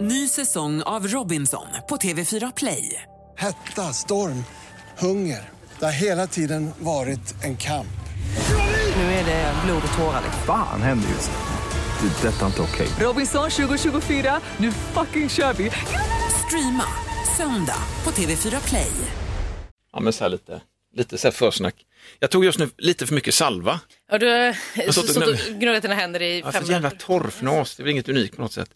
Ny säsong av Robinson på TV4 Play. Hetta, storm, hunger. Det har hela tiden varit en kamp. Nu är det blod och tårar. liksom. Fan händer just nu. Det. är Detta är inte okej. Robinson 2024, nu fucking kör vi! Streama söndag på TV4 Play. Ja, men så här lite, lite så här försnack. Jag tog just nu lite för mycket salva. Ja, du har satt och suttit och gnuggat dina händer i Jag är fem så jävla minuter. torrfnas, det är väl inget unikt på något sätt.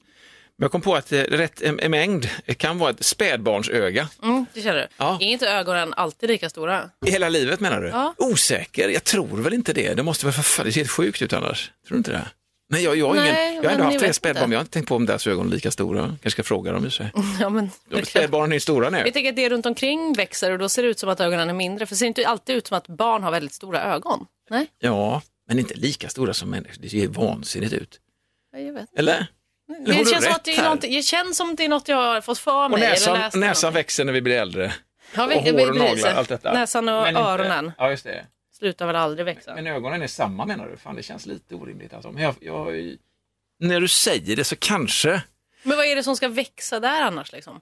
Men jag kom på att eh, rätt en- en mängd kan vara ett spädbarnsöga. Mm, det känner du. Ja. Är inte ögonen alltid lika stora? I hela livet menar du? Ja. Osäker? Jag tror väl inte det. Det måste väl för fan, det ser helt sjukt ut annars. Tror du inte det? Nej, jag, jag, har ingen, Nej, jag har men ändå ni haft tre vet spädbarn, inte. men jag har inte tänkt på om deras ögon är lika stora. Jag kanske ska fråga dem i och för sig. Ja, men De Spädbarnen är ju stora nu. Jag tänker att det runt omkring växer och då ser det ut som att ögonen är mindre. För det ser inte alltid ut som att barn har väldigt stora ögon? Nej, Ja, men inte lika stora som människor. Det ser ju vansinnigt ut. jag vet. Eller? Eller har Mm, Det du känns, som rätt att det, här? är någonting- det känns som att det är något jag har fått för mig. Och näsan, eller läst näsan någonting. växer när vi blir äldre. Ja, vi- Och hår och precis. naglar, allt detta. Näsan och Men inte- öronen Ja, just det. slutar väl aldrig växa? Men ögonen är samma menar du? Fan, det känns lite orimligt. Alltså. Men jag, jag... När du säger det så kanske Men vad är det som ska växa där annars? Liksom?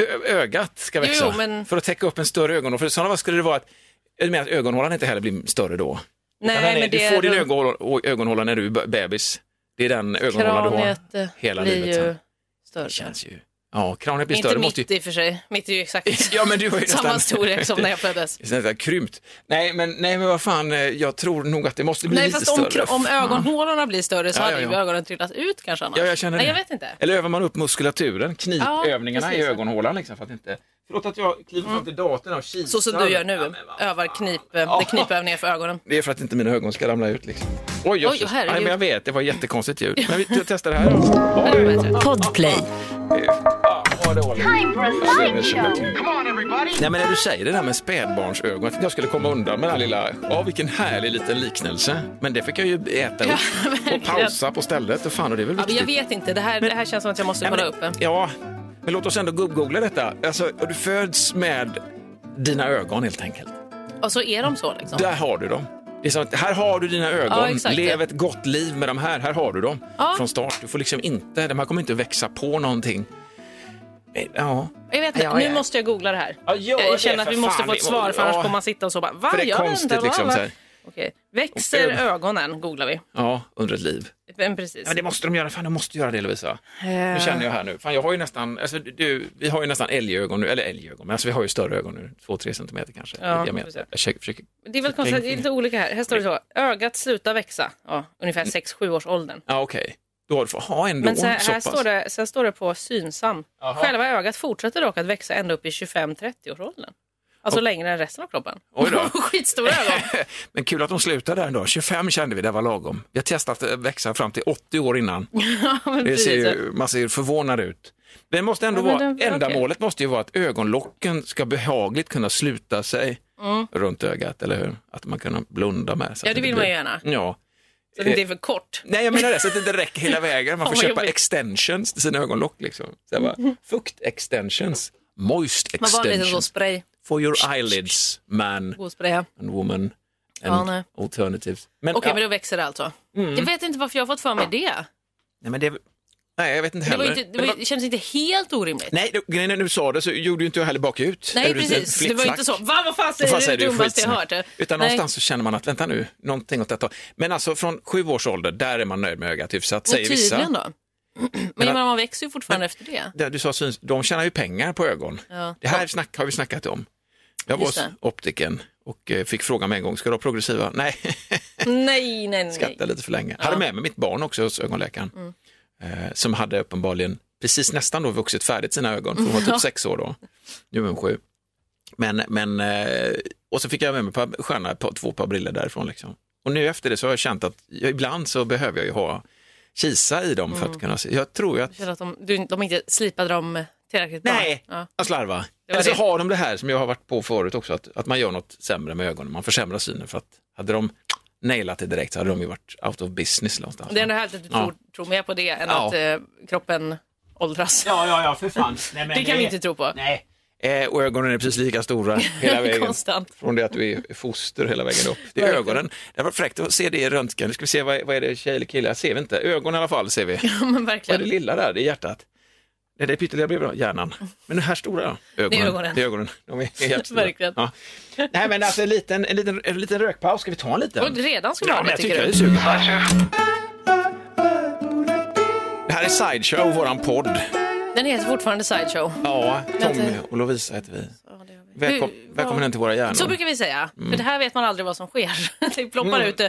ö- ögat ska Jo, växa jo, men- för att täcka upp en större ögonhåla. För i sådana fall skulle det vara att, jag menar att ögonhålan inte heller blir större då. Utan den är, du får din runt ögonhåla, ögonhåla när du är b- bebis. Det är den ögonhålan du har. kraniet eh, hela blir livet ju sen. större. Det känns ju. Ja, kraniet blir Inte större. mitt Måste ju... i och för sig. Mitt är ju exakt Ja, men du var ju samma nästan- storlek som när jag föddes. Det är nästan krympt. Nej men, nej, men vad fan, eh, jag tror nog att det måste bli Nej, lite fast om, större. om Fan. ögonhålorna blir större så Ja, ja, hade ju ja. ögonen trillat ut kanske annars. Ja, jag känner Nej, det. jag vet inte. Eller övar man upp muskulaturen, knipövningarna Ja, precis. Mm. i ögonhålan liksom för att inte... Förlåt att jag kliver fram till datorn och kisar. Så som du gör nu, Ja, men vad fan. övar knip, eh, det är knipövningar för ögonen. Det är för att inte mina ögon ska ramla ut liksom. Oj, Oj, jösses. herregud. Nej, men jag vet, det var ett jättekonstigt ljud. Men vi jag testar det här. Oj, Podplay. fan, vad dåligt. Alltså, jag känner till- Nej, men när du säger det där med spädbarnsögon, jag tänkte jag skulle komma undan med den här lilla, ja vilken härlig liten liknelse. Men det fick jag ju äta upp och pausa på stället. Och fan, och det är väl Ja, men viktigt. jag vet inte, det här, det här känns som att jag måste kolla men, upp. det. Ja, men låt oss ändå googla detta. Alltså, du föds med dina ögon helt enkelt. Och så är de så liksom. Där har du dem. Det är som att, här har du dina ögon, Ja, exakt. lev ett gott liv med de här. Här har du dem Ja. från start. Du får liksom inte, de här kommer inte växa på någonting. Eh, Ja, Jag vet inte, Ja, nu ja. måste jag googla det här. Ja, gör det, jag känner att för vi måste fan. få ett Vi- svar för ja. annars kommer man sitta och så bara, va? för det är Jag vet konstigt inte, va, liksom. va?" Så här. Okej. Växer Och- ögonen googlar vi. Ja, under ett liv. Men precis. Ja, men det måste de göra. Fan, de måste göra det Lovisa. Nu Eh, känner jag här nu. Fan, jag har ju nästan, alltså, du, vi har ju nästan älgögon nu, eller älgögon, men alltså, vi har ju större ögon nu. Två, tre centimeter kanske. Ja, jag, precis. jag försöker, försöker Det är väl konstigt, det är lite olika här. Här står det så, ögat slutar växa, ja, ungefär 6-7 års åldern. Ja, okej. Då har du fått ha ändå Men så här, så här pass. står det, sen står det på synsam. Jaha. Själva ögat fortsätter dock att växa ända upp i 25-30-årsåldern. Alltså längre än resten av kroppen. Oj då. Skitstora ögon. Men kul att de slutar där ändå. 25 kände vi, det var lagom. Vi har testat att växa fram till 80 år innan. Ja, men Det ser precis. ju, man ser ju förvånad ut. Det måste ändå Ja, men vara, den- ändamålet måste ju vara att ögonlocken ska behagligt kunna sluta sig runt ögat, eller hur? Att man kan blunda med. så Mm. Ja, att det inte vill man blir- ju gärna. Ja. Så det inte är för kort. Nej, jag menar det, så att det inte räcker hela vägen. Man får Åh, vad köpa jobbigt. extensions till sina ögonlock. Liksom. Så jag bara, fukt-extensions, moist Man var lite så extensions, spray. for your eyelids, man God spraya. and woman and Ja, nej. alternatives. Men, Okej, ja, men då växer det alltså. Mm. Jag vet inte varför jag har fått för mig det. nej, men det, nej, jag vet inte Det, heller. var ju inte, det, Men var, det kändes inte helt orimligt. nej, då- grejen är när du sa det så gjorde ju inte jag heller bakut. Nej, Är du inte en precis. Det var ju inte så. flickflack? Va, vad fan Vad fan säger du? säger Det du? dummaste jag Skitsnack. hört. Utan Nej. någonstans så känner man att vänta nu, någonting åt detta Men alltså från sju års ålder, där är man nöjd med ögat hyfsat, Men säger vissa. tydligen då. Men jag menar, man växer ju fortfarande Men- efter det. Där du sa syns, de tjänar ju pengar på ögon. Ja. Det här snack, har vi snackat om. Jag var Just hos det. optiken och eh, fick frågan med en gång, ska du ha progressiva? Nej, Nej, nej, nej. Mm. skrattade lite för länge. Hade med mig mitt barn också hos ögonläkaren. Eh, som hade uppenbarligen precis nästan då vuxit färdigt sina ögon, för hon var typ sex år då. Nu är hon sju. Men, men, eh, och så fick jag med mig ett par stjärna, ett par- två par briller därifrån. Liksom. Och nu efter det så har jag känt att jag, ibland så behöver jag ju ha kisa i dem för Mm. att kunna se. Jag tror ju att Jag känner att de, du, de inte slipade dem tillräckligt Nej, bra. Ja. att slarva. var Eller så det. har de det här som jag har varit på förut också, att, att man gör något sämre med ögonen, man försämrar synen för att hade de nailat det direkt så hade de ju varit out of business någonstans. Det är ändå härligt att du Ja. tror, tror mer på det än Ja. att eh, kroppen åldras. Ja, ja, ja, för fan. Nej, men det kan vi inte tro på. Nej. Eh, och ögonen är precis lika stora hela vägen. Konstant. Från det att du är foster hela vägen upp. Det är Verkligen. ögonen. Det var fräckt att se det i röntgen. Nu ska vi se, vad är, vad är det, tjej eller kille? Ser vi inte. Ögon i alla fall ser vi. Men Vad är det verkligen. lilla där? Det är hjärtat. Nej, det är pyttelilla bredvid då, hjärnan. Men de här stora då? Ögonen. ögonen. Det är ögonen. De är jättestora. Verkligen. Ja. Nej, men alltså en liten, en liten, en liten rökpaus. Ska vi ta en liten? Och redan ska vi Ja, ha men det, jag tycker tycker jag du? är sugen. Det här är Sideshow, våran podd. Den heter fortfarande Sideshow. Ja, Tommy Vänta. och Lovisa heter vi. Ja, det gör vi. Välkom, Hur- välkommen vad- hem till våra hjärnor. Så brukar vi säga, för det här vet man aldrig vad som sker. Det ploppar ut, eh,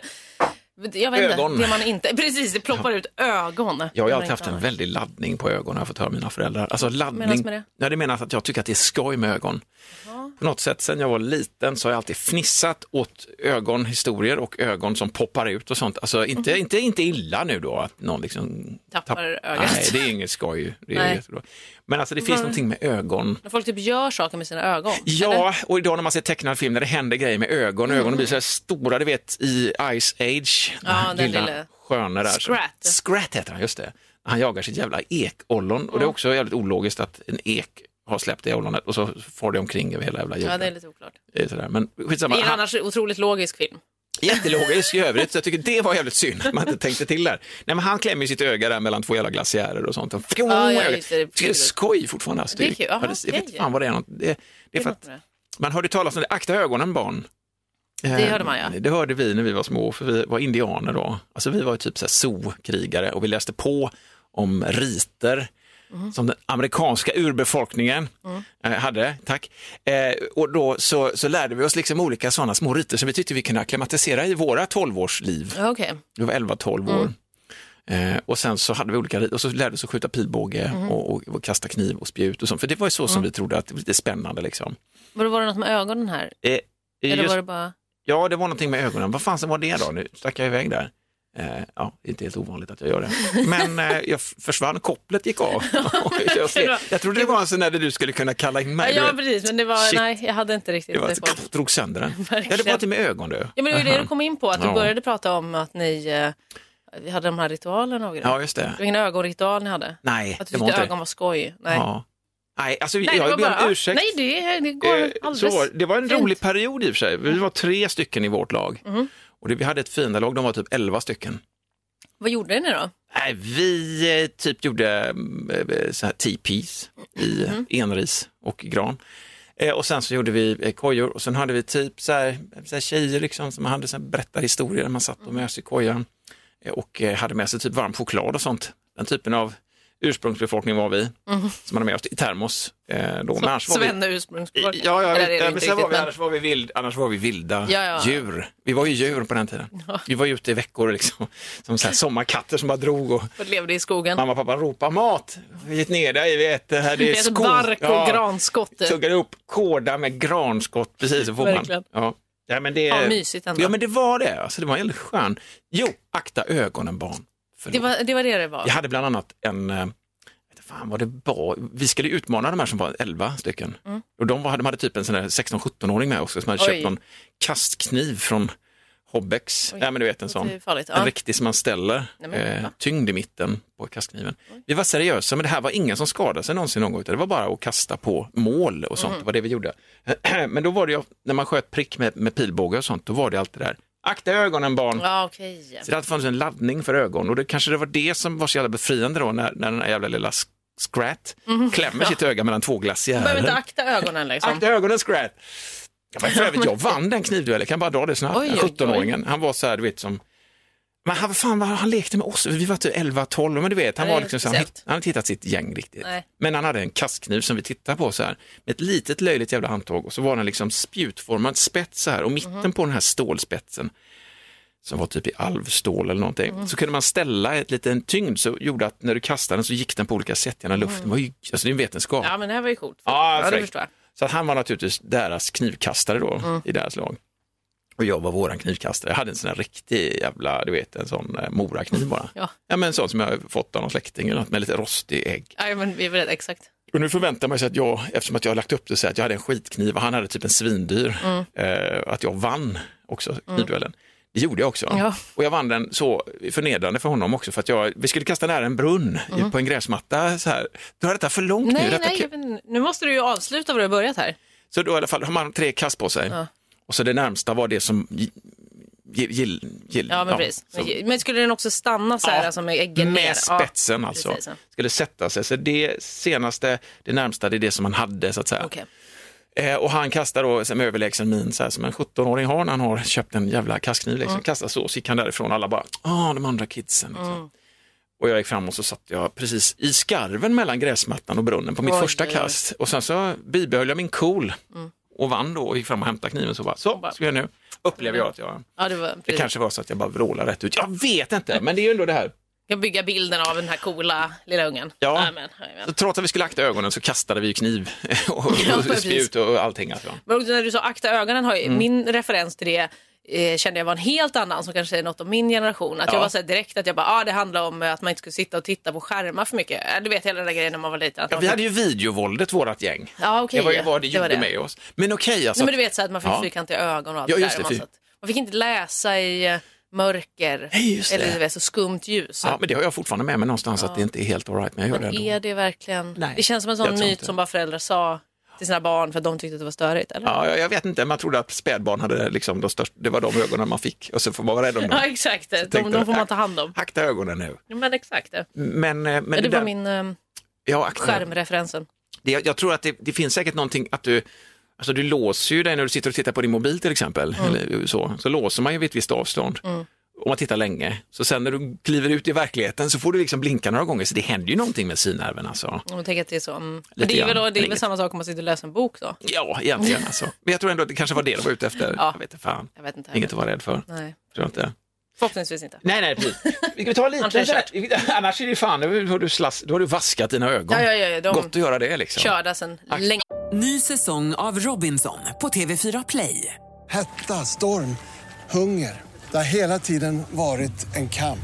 jag vet Mm. Ögon. inte, det man inte, precis det ploppar ut ögon. Jag har Det ju man alltid inte haft en har. väldig laddning på ögonen, har jag fått höra av mina föräldrar. Alltså laddning. Menas med det? Ja, det menas att jag tycker att det är skoj med ögon. På något sätt, sen jag var liten så har jag alltid fnissat åt ögonhistorier och ögon som poppar ut och sånt. Alltså inte, inte, inte illa nu då att någon liksom Mhm. Tappar ögat. Nej, det är inget skoj. Det är Nej. jättebra. Men alltså det finns någonting med ögon. När folk typ gör saker med sina ögon. Ja, och idag när man ser tecknad film när det händer grejer med ögon, Mm. ögonen blir så här stora, du vet i Ice Age. Ja, här den lille- sköne där. Scrat. Scrat heter han, just det. Han jagar sitt jävla ekollon och det är också jävligt ologiskt att en ek har släppt det ollonet och så far det omkring över hela jävla Ja, jorden. det är lite oklart. Det är sådär. Men skitsamma, Det är en han, annars otroligt logisk film. jättelogisk i övrigt, så jag tycker det var jävligt synd att man inte tänkte till där. Nej, men han klämmer ju sitt öga där mellan två jävla glaciärer och sånt. Och, Ja, ja, ögat. just det, det är det är skoj fortfarande. Alltså. Det är kul. Ja, Aha, det, jag vet inte okej. fan vad det är. Något. Det, det är för att Man hörde talas om det, akta ögonen barn. Ehm, Det hörde man, ja. Det hörde vi när vi var små, för vi var indianer då. Alltså vi var ju typ så här zookrigare och vi läste på om riter Mm. som den amerikanska urbefolkningen eh, hade. Tack. Eh, och då så, så lärde vi oss liksom olika sådana små riter som vi tyckte vi kunde akklimatisera i våra tolvårsliv. Ja, Okej, Vi var 11-12 år. Mm. Eh, och sen så hade vi olika rit- och så lärde vi oss att skjuta pilbåge och, och, och kasta kniv och spjut och sånt. För det var ju så Mm. som vi trodde att det var lite spännande liksom. var det, var det något med ögonen här? Eh, Eller just- var det bara... Ja, det var någonting med ögonen. Vad fan var det då? Nu stack jag iväg där. Eh, ja, det är inte helt ovanligt att jag gör det. Men eh, jag f- försvann, kopplet gick av. Och jag, slet. jag trodde det var en sån där där du skulle kunna kalla in mig. Ja, du vet. precis, men det var, Shit. nej, jag hade inte riktigt det var, det på. drog sönder den. Ja, Verkligen. det var inte med ögon du. Ja, men det var ju det Aha. du kom in på, att du Ja. började prata om att ni eh, vi hade de här ritualerna och grejer. Ja, just det. Det var ingen ögonritual ni hade? Nej, Att du det var tyckte inte ögon var skoj? Nej, Ja. Nej, alltså nej det jag var ber bara... om ursäkt. Nej, det, det går Eh, alldeles... så var, det. det var en fint. Mm. rolig period i och för sig. Vi var tre stycken i vårt lag. Och det, vi hade ett fina lag, de var typ elva stycken. Vad gjorde ni då? Nej, vi eh, typ gjorde mm, eh, så här tipis i Mhm. eh, enris och gran. Eh, och sen så gjorde vi eh, kojor och sen hade vi typ så här, så här tjejer liksom som hade så här berättarhistorier. Man satt Mhm. och mös i kojan eh, och eh, hade med sig typ varm choklad och sånt. Den typen av ursprungsbefolkning var vi, Mhm. som hade med oss i termos. Eh, då. Men annars var vi- Svenne ursprungsfolk? Ja, ja, Eller är det ja men inte sen var riktigt, vi, men- annars, var vi vild, annars var vi vilda Ja, ja. djur. Vi var ju djur på den tiden. Vi var ju ute i veckor liksom, som så här sommarkatter som bara drog och Och levde i skogen. mamma och pappa ropade mat. Vi har gett ner dig, vi äter här, det Det är är ett skog. bark och Ja, granskott. Tuggade upp kåda med granskott, precis så får Verkligen. man. Ja. Ja, men det, Ja, mysigt ändå. Ja, men det var det. Alltså, det var en skön. Jo, akta ögonen barn. Förlåt. Det var det var det det var. Jag hade bland annat en, eh, jag vet inte fan vad det var, vi skulle utmana de här som var 11 stycken. Och de, var, de hade typ en sån där 16-17-åring med också som hade Mm. Oj. köpt någon kastkniv från Hobbex. Oj, Ja men du vet en sån. Det är farligt. En Ja. riktig som man ställer Nej, men, eh, va? tyngd i mitten på kastkniven. Vi var seriösa men det här var ingen som skadade sig någonsin någon gång utan det var bara att kasta på mål och Mm. sånt, det var det vi gjorde. men då var det ju, när man sköt prick med, med pilbåge och sånt, då var det alltid det där, akta ögonen barn! Ja, okej. Så det hade funnits en laddning för ögon och det kanske det var det som var så jävla befriande då när, när den här jävla lilla sk- Scrat klämmer sitt öga mellan två Du Mm. behöver inte glaciärer. akta ögonen liksom. Akta ögonen Scrat! Ja, men för övrigt, jag vann den knivduellen, kan bara dra det snabbt. Oj, oj, oj. 17-åringen, han var så här, du vet som men han, fan, vad- han lekte med oss, vi var typ 11-12, men du vet, han, Ja, det var är liksom, så här- han, speciellt. han hade inte hittat sitt gäng riktigt. Nej. Men han hade en kastkniv som vi tittade på så här, med ett litet löjligt jävla handtag och så var den liksom spjutformad spets så här och mitten Mhm. på den här stålspetsen som var typ i alvstål eller någonting, Mm. så kunde man ställa ett liten tyngd så gjorde att när du kastade den så gick den på olika sätt genom Mm. luften. Det var ju, alltså det är en vetenskap. Ja, men det här var ju coolt. Ja, ja det fräckt. förstår jag. Mm. Så att han var naturligtvis deras knivkastare då i deras lag. Och jag var våran knivkastare. Jag hade en sån här riktig jävla, du vet en sån eh, morakniv bara. Ja. ja men en sån som jag har fått av någon släkting eller något med lite rostig ägg. Ja, men vi är väl exakt. Och nu förväntar man sig att jag, eftersom att jag har lagt upp det så här, att jag hade en skitkniv och han hade typ en svindyr, Mm. eh, att jag vann också knivduellen. Det gjorde jag också. Ja. Och jag vann den så förnedrande för honom också för att jag, vi skulle kasta nära en brunn i- på en gräsmatta så här. Då är detta för långt nu. Mm. Nej, Detta nej, kan- jag vet- nu måste du ju avsluta vad du har börjat här. så då i alla fall har man tre kast på sig. Ja. Och så det närmsta var det som Gill, gill, gill, Ja, men precis. så- Men skulle den också stanna så här, Ja, alltså med äggen ner? med spetsen alltså. precis, ja. Skulle sätta sig. Så det senaste, det närmsta, det är det som han hade så att säga. Ja, okej. Eh, och han kastar då som överlägsen min så här, som en 17-åring har när han har köpt en jävla kastkniv. Liksom. Mm. Kastar så, så gick han därifrån. Alla bara, ah de andra kidsen. Liksom. Mm. Och jag gick fram och så satt jag precis i skarven mellan gräsmattan och brunnen på mitt Oj, första oj, Mm. oj. kast. Och sen så bibehöll jag min cool och vann då och gick fram och hämtade kniven. Så bara, så ska jag nu. Upplever jag att jag, Ja, det var det precis. kanske var så att jag bara vrålade rätt ut. Jag vet inte, men det är ju ändå det här. Jag bygger bilden av den här coola lilla ungen. Ja. Nej, men, nej, men. Så trots att vi skulle akta ögonen så kastade vi ju kniv och, Ja, och precis. spjut och allting. Alltså. Men också när du sa akta ögonen, har ju, Mm. min referens till det eh, kände jag var en helt annan som kanske säger något om min generation. Att Ja. jag var så här direkt att jag bara, ah, det handlar om eh, att man inte skulle sitta och titta på skärmar för mycket. Eh, Du vet hela den där grejen när man var liten. att Ja, man vi fick- hade ju videovåldet, vårat gäng. Ja, okej. Det var ju vad det Det var gjorde det. med oss. Men okej, alltså. Nej, men du vet så här att man fick Ja. fyrkantiga ögon och allt Ja, det just det, där. Man, fy- satt, man fick inte läsa i eh, mörker Nej, just eller det. du vet, så skumt ljus. ja, men det har jag fortfarande med mig någonstans att det inte är helt alright, men jag gör det men ändå. är det verkligen... Nej, det känns som en jag sån tror myt inte. som bara föräldrar sa till sina barn för att de tyckte att det var störigt. Eller? Ja, jag, jag vet inte, man trodde att spädbarn hade liksom de största, det var de ögonen man fick och så får man vara rädd om Ja, dem. exakt. De, tänkte de får man jag. ta hand om. Akta ögonen nu. Ja, Men exakt. Det, Men, eh, men det, där- var min eh, ja, akta. skärmreferensen. Det, jag, jag tror att det, det finns säkert någonting att du, alltså du låser ju dig när du sitter och tittar på din mobil till exempel, Mm. eller så, så låser man ju vid ett visst avstånd. Om man tittar länge, så sen när du kliver ut i verkligheten så får du liksom blinka några gånger, så det händer ju någonting med synnerven alltså. Om man tänker att det är så. Mm. Men det är grann, väl, då, det är väl ringet. samma sak om man sitter och läser en bok då? Ja, egentligen alltså. Men jag tror ändå att det kanske var det de var ute efter. Ja. Jag vet inte fan, Jag vet inte. inget att vara rädd för. Nej, Tror jag inte. förhoppningsvis inte. Nej, nej, precis. Vi kan ta lite Annars är det så här- Annars är det fan, då har du, slass, då har du vaskat dina ögon. Ja, ja, ja, ja, de- Gott att göra det liksom. Körda sen länge. Ny säsong av Robinson på TV4 Play. Hetta, storm, hunger. Det har hela tiden varit en kamp.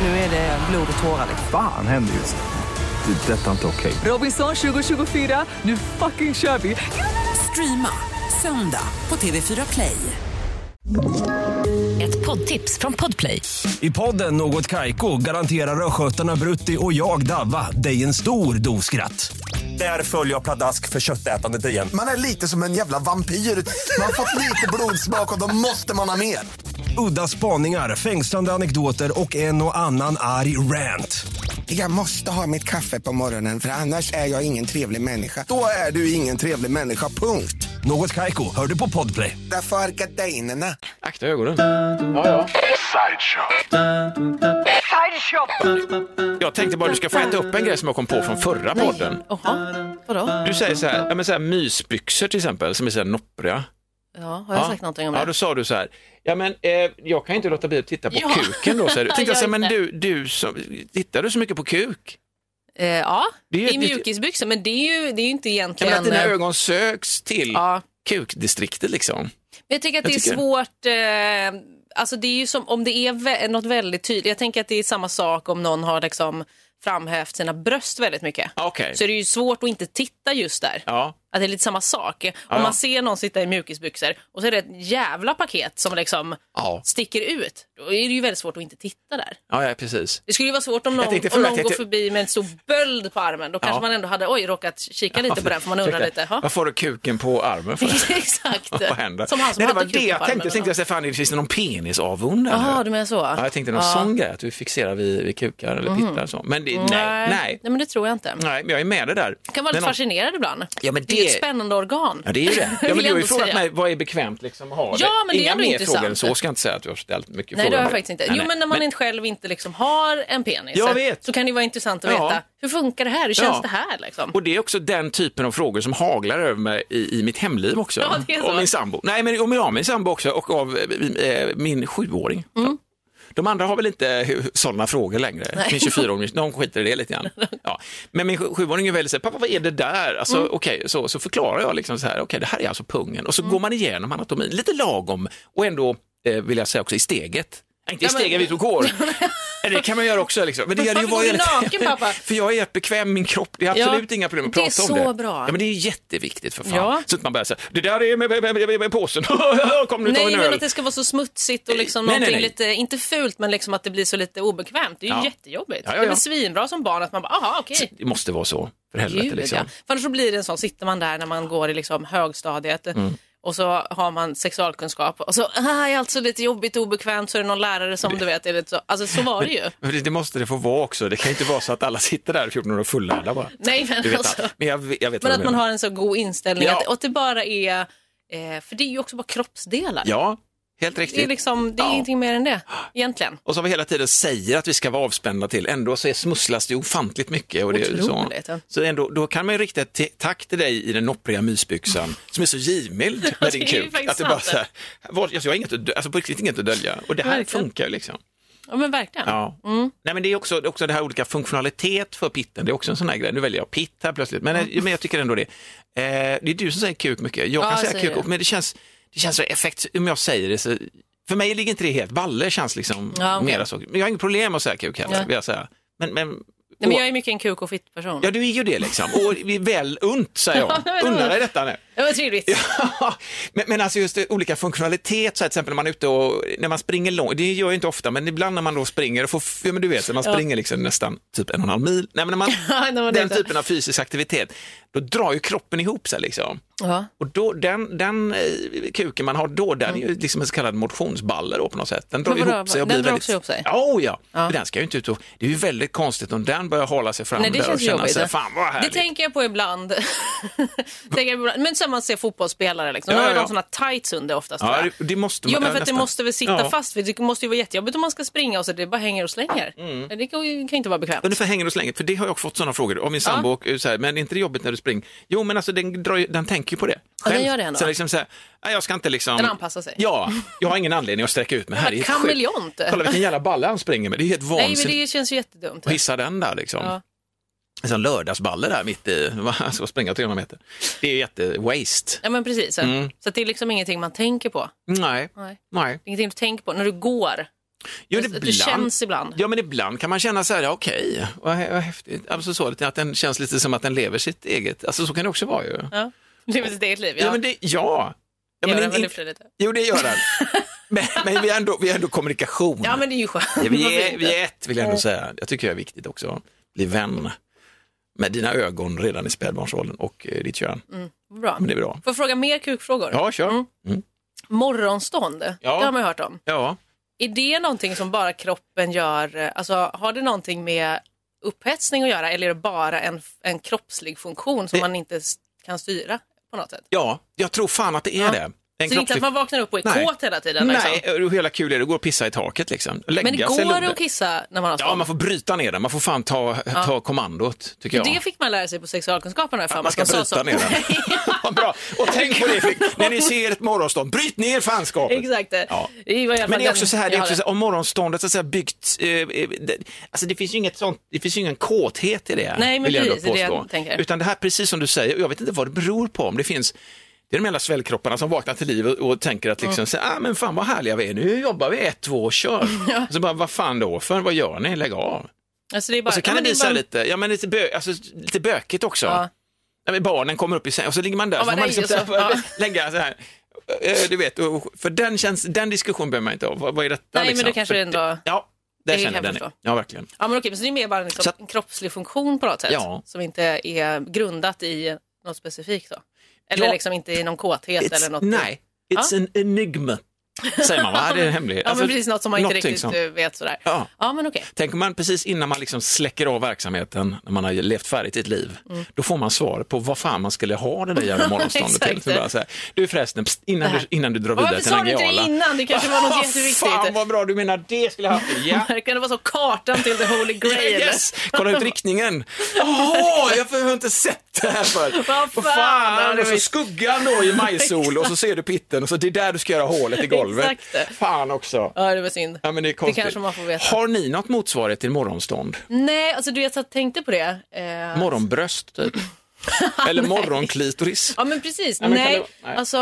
Nu är det blod och tårar. liksom. Fan händer just nu. Det. är Detta är inte okej. Robinson 2024, nu fucking kör vi! Streama söndag på TV4 Play. Ett poddtips från Podplay. I podden Något Kaiko garanterar östgötarna Brutti och jag, Davva, dig en stor dos skratt. Där följer jag pladask för köttätandet igen. Man är lite som en jävla vampyr. Man har fått lite blodsmak och då måste man ha mer. Udda spaningar, fängslande anekdoter och en och annan arg rant. Jag måste ha mitt kaffe på morgonen för annars är jag ingen trevlig människa. Då är du ingen trevlig människa, punkt. Något Kaiko, hör du på Podplay. Därför är gardinerna. Akta ögonen. Jag tänkte bara du ska få äta upp en grej som jag kom på från förra podden. Jaha, vadå? Du säger så här, ja, men så här mysbyxor till exempel som är så här noppriga. Ja, har jag sagt någonting om Ja, det? då sa du så här, ja men eh, jag kan ju inte låta bli att titta på Ja. kuken då. Så här. Tänkte jag så här, Ja, men just det. du, du som, tittar du så mycket på kuk? Eh, ja, Det är- i det- mjukisbyxor. Men det är ju, det är ju inte Ja, egentligen... men att dina eh, ögon söks till Ja. kukdistriktet liksom. Men jag tycker att Jag det är tycker- svårt. Eh, alltså det är ju som om det är vä- något väldigt tydligt. Jag tänker att det är samma sak om någon har liksom framhävt sina bröst väldigt mycket. Ja, Ah, Okej, Så är det ju svårt att inte titta just där. ja. Att det är lite samma sak. Om Ja. man ser någon sitta i mjukisbyxor och så är det ett jävla paket som liksom Ja. sticker ut. Då är det ju väldigt svårt att inte titta där. ja, ja precis. Det skulle ju vara svårt om Jag någon, tänkte om fråga, någon jag går tänkte- förbi med en stor böld på armen. Då kanske Ja. man ändå hade oj, råkat kika lite på den för man undrar Ursäkta, lite. "Ha?" Varför har du kuken på armen för? Exakt. Vad händer? Som han som Nej, det hade var det kuken på jag armen. tänkte. Jag tänkte jag, så här, fan, det finns det någon penisavund? här nu? Jaha, du menar Mm. så? Ja, jag tänkte någon sån grej, att du fixerar vid, vid kukar eller pittar och så. Men det, nej, nej. nej. men det tror jag inte. men jag är med dig där. Jag kan vara Men lite om- fascinerad ibland. Ja, men Det är ju det- ett spännande organ. Ja, det är ju det. Ja, Vill men du har ju ändå frågat säga. mig, vad är bekvämt liksom att ha Ja, men det är Inga ändå mer intressant. frågor än så ska jag inte säga att jag har ställt mycket Nej, frågor. det har jag faktiskt inte. Nej, Jo, nej. men när man inte själv inte liksom har en penis Jag vet. så kan det ju vara intressant att Ja. veta hur funkar det här? Hur känns Ja. det här? Liksom? Och det är också den typen av frågor som haglar över mig i, i mitt hemliv också. Ja, det är så. Och min sambo. Nej, men om jag min sambo också och av eh, eh, min sjuåring. Mm. Ja. De andra har väl inte eh, sådana frågor längre. Min 24-åring, de skiter i det lite grann. Ja. Men min sju- sjuåring är väldigt så här, pappa vad är det där? Alltså, Mm. okej, så, så förklarar jag liksom så här, okej det här är alltså pungen. Och så Mm. går man igenom anatomin, lite lagom och ändå eh, vill jag säga också i steget. Nej, Inte i Ja, men- steget vi tog går. Eller Det kan man göra också. Liksom. Men det gör det ju Varför går vara du jävligt- naken, pappa? För jag är jättebekväm, min kropp, det är Ja, absolut inga problem att det är prata om det. så bra. Ja, men det är jätteviktigt för fan. Ja. Så att man börjar säga, det där är med, med, med, med, med påsen, kom nu tar vi Nej, en men öl. att det ska vara så smutsigt och liksom Nej, nej, någonting nej. lite, inte fult, men liksom att det blir så lite obekvämt. Det är ju Ja. jättejobbigt. Ja, ja, Det är ja. väl svinbra som barn att man bara, aha, okej. Det måste vara så, för helvete. Gud, liksom. Mm. ja. För annars så blir det en sån, sitter man där när man går i liksom högstadiet Och så har man sexualkunskap och så ah, är alltså lite jobbigt och obekvämt så är det någon lärare som du vet är lite så. Alltså så var det ju. Men det- Det måste det få vara också. Det kan ju inte vara så att alla sitter där 14 år och fullärda bara. Nej men Du vet alltså. allt. Men jag, vet- jag vet Men vad att du man menar. har en så god inställning Ja. att, och att det bara är, eh, för det är ju också bara kroppsdelar. Ja, helt riktigt. Det är, liksom, det är Ja. ingenting mer än det egentligen. Och som vi hela tiden säger att vi ska vara avspända till, ändå så är smusslas det ofantligt mycket. Och det, är så. Otroligt, ja. så ändå, då kan man ju rikta ett te- tack till dig i den noppriga mysbyxan som är så givmild med det din är ju kuk. faktiskt Att det bara sant. så här, var, alltså, jag har inget att, dö- alltså, på riktigt inget att dölja. Och det här Verkligen. funkar ju liksom. Ja men verkligen. Ja. Mm. Nej, men det är också, det är också det här olika funktionalitet för pitten. Det är också en sån här grej. Nu väljer jag pitt här plötsligt. Men, eh, men jag tycker ändå det. Eh, det är du som säger kuk mycket. Jag kan jag säga säger kuk, det. också, men det känns, det känns så effekt, om jag säger det så, för mig ligger inte det helt, balle känns liksom Ja, okej. mera så. Men jag har inget problem med att säga kuk heller, Nej. vill jag säga. Men, men, Nej, men och- jag är mycket en kuk och fitt person. Ja, du är ju det liksom. Och vi är väl unt, säger jag. Ja, men- Unna dig detta nu. Det var trevligt. Ja, men, men alltså just det, olika funktionalitet, så här, till exempel när man är ute och när man springer långt, det gör jag inte ofta, men ibland när man då springer och får, ja, men du vet, man springer liksom nästan typ en och en halv mil, Nej, men när man, det var den det. typen av fysisk aktivitet, då drar ju kroppen ihop sig liksom. Ja. Och då, den, den eh, kuken man har då, den är ju liksom en så kallad motionsballer då på något sätt. Den drar Mm. Men vadå, ihop sig. och den blir drar väldigt... också ihop sig? Ja, oh, ja. För Den ska ju inte ut och... Det är ju väldigt konstigt om den börjar hala sig fram Nej, det där och känns känna jobbigt. sig, fan vad det härligt. tänker jag på ibland. tänker jag på ibland. Men som man ser fotbollsspelare, liksom. Ja, då har ja, de ja. sådana tights under oftast. tror Ja, jag. det, det måste man Jo men ja, för att det nästan. måste väl sitta Ja. fast vid. Det måste ju vara jättejobbigt om man ska springa och så det bara hänger och slänger. Det kan ju kan ju inte vara bekvämt. Mm. Ungefär hänger och slänger, för det har jag fått sådana frågor av min sambo. Och eh, så här, men är inte det jobbigt när du springer? Jo, men alltså den, drar, ju- den tänker ju på det. Ja, den gör det ändå. Så liksom så här, nej, jag ska inte liksom... Den anpassar sig. Ja, jag har ingen anledning att sträcka ut mig här. Men Det är helt kameleont. sjukt. Kolla vilken jävla balle han springer med. Det är helt Nej vansinnigt men det känns ju jättedumt. att hissa den där liksom. Ja. En sån lördagsballe där mitt i, han ska springa 300 meter. Det är ju jätte-waste. Ja men precis. Mm. Så att det är liksom ingenting man tänker på. Nej. Nej. Nej. Det är ingenting du tänker på när du går. Jo, Att det känns ibland. Ja, men ibland kan man känna så här, ja, okej, vad, hä- vad häftigt. Alltså så, lite att den känns lite som att den lever sitt eget, alltså så kan det också vara ju. Ja. Lever sitt eget liv. Ja. Ja, men det, ja. ja Gör men den in, väl i in, och för sig lite. jo, det gör den. men men vi, har ändå, vi har ändå kommunikation. ja men det är ju skönt. Ja, vi, Varför är, inte? vi är ett, vill jag ändå säga. Jag tycker det är viktigt också. Bli vän med dina ögon redan i spädbarnsåldern och eh, ditt kön. Bra. Men det är bra. Får jag fråga mer kukfrågor? Ja, kör. Mm. Morgonstånd, Ja. det har man ju hört om. Ja. Är det någonting som bara kroppen gör, eh, alltså har det någonting med upphetsning att göra eller är det bara en, en kroppslig funktion som Det- man inte s- kan styra på något sätt? ja, jag tror fan att det är Ja. det. En Så det är inte att kroppslig- man vaknar upp och är Nej. kåt hela tiden? Liksom. Nej, och hela kul är det att gå och pissa i taket liksom. Lägga Men sig går lugnt. det att kissa när man har Ja, stånd? man får bryta ner den. Man får fan ta, ta kommandot, tycker jag. Det fick man lära sig på sexualkunskapen har jag för mig. Man ska att de sa bryta ner den. Vad bra. Och tänk på det, Fredrik, när ni ser ett morgonstånd, bryt ner fanskapet. Exakt. Det Ja. var i alla fall Men det är den också så här, det jag är också hade. så här om morgonståndet så att säga byggt, eh, eh, det, alltså det finns ju inget sånt, det finns ju ingen kåthet i det. Nej, men vill jag ändå precis, det är det jag påstå. tänker. Utan det här, precis som du säger, och jag vet inte vad det beror på, om det finns det är de jävla svällkropparna som vaknar till liv och, och tänker att liksom, så, här, ah, men fan vad härliga vi är, nu jobbar vi ett, två och kör. Så bara, vad fan då för, vad gör ni, lägg av. Alltså, det är bara, Och så kan ja, det men bli är så här bara- lite, ja men lite, bö, alltså, lite bökigt också. Ja. Ja, men barnen kommer upp i säng och så ligger man där Ja, så får men man nej, liksom så här, och så- ja. lägga så här. Eh, Du vet, och- för den, känns, den diskussionen behöver man inte ha. Vad, vad är detta? Nej, men liksom? det kanske för, ändå- Ja, där det känner jag kan jag den. förstå. Ja, verkligen. Ja, men okej, men så det är mer bara en, liksom, Så att- en kroppslig funktion på något sätt Ja. som inte är grundat i något specifikt då? Eller Ja. liksom inte i någon kåthet eller något? nej, it's an enigma, säger man. Va? Det är en hemlighet. Ja, Alltså, men precis något som man inte någonting riktigt som- eh, vet sådär. Ja. men okej. Tänker man precis innan man liksom släcker av verksamheten, när man har levt färdigt ett liv, Mm. då får man svar på vad fan man skulle ha det där jävla morgonståndet till. Exakt. Så bara så här, du förresten, pst, innan, Det du, här. innan du drar Varför vidare till sa du inte det Nangijala. innan? Det kanske var något Ah, Fan jätteviktigt. vad bra, du menar det skulle jag haft. Ja. Kan det vara så kartan till the holy grail? Yes! Kolla ut riktningen. Åh, jag har inte sett det här förr. Vad Vad fan, det fan! var Och så ju- skuggan då i majsol och så ser du pitten och så det är där du ska göra hålet i golvet. Exakt. Fan också. Ja, det var synd. Ja, men det, är det konstigt. kanske man får veta. Har ni något motsvarighet till morgonstånd? Nej, alltså du vet, jag tänkte på det. Eh, Morgonbröst typ? Eller morgonklitoris? Ja men precis, men kan nej, det- nej. alltså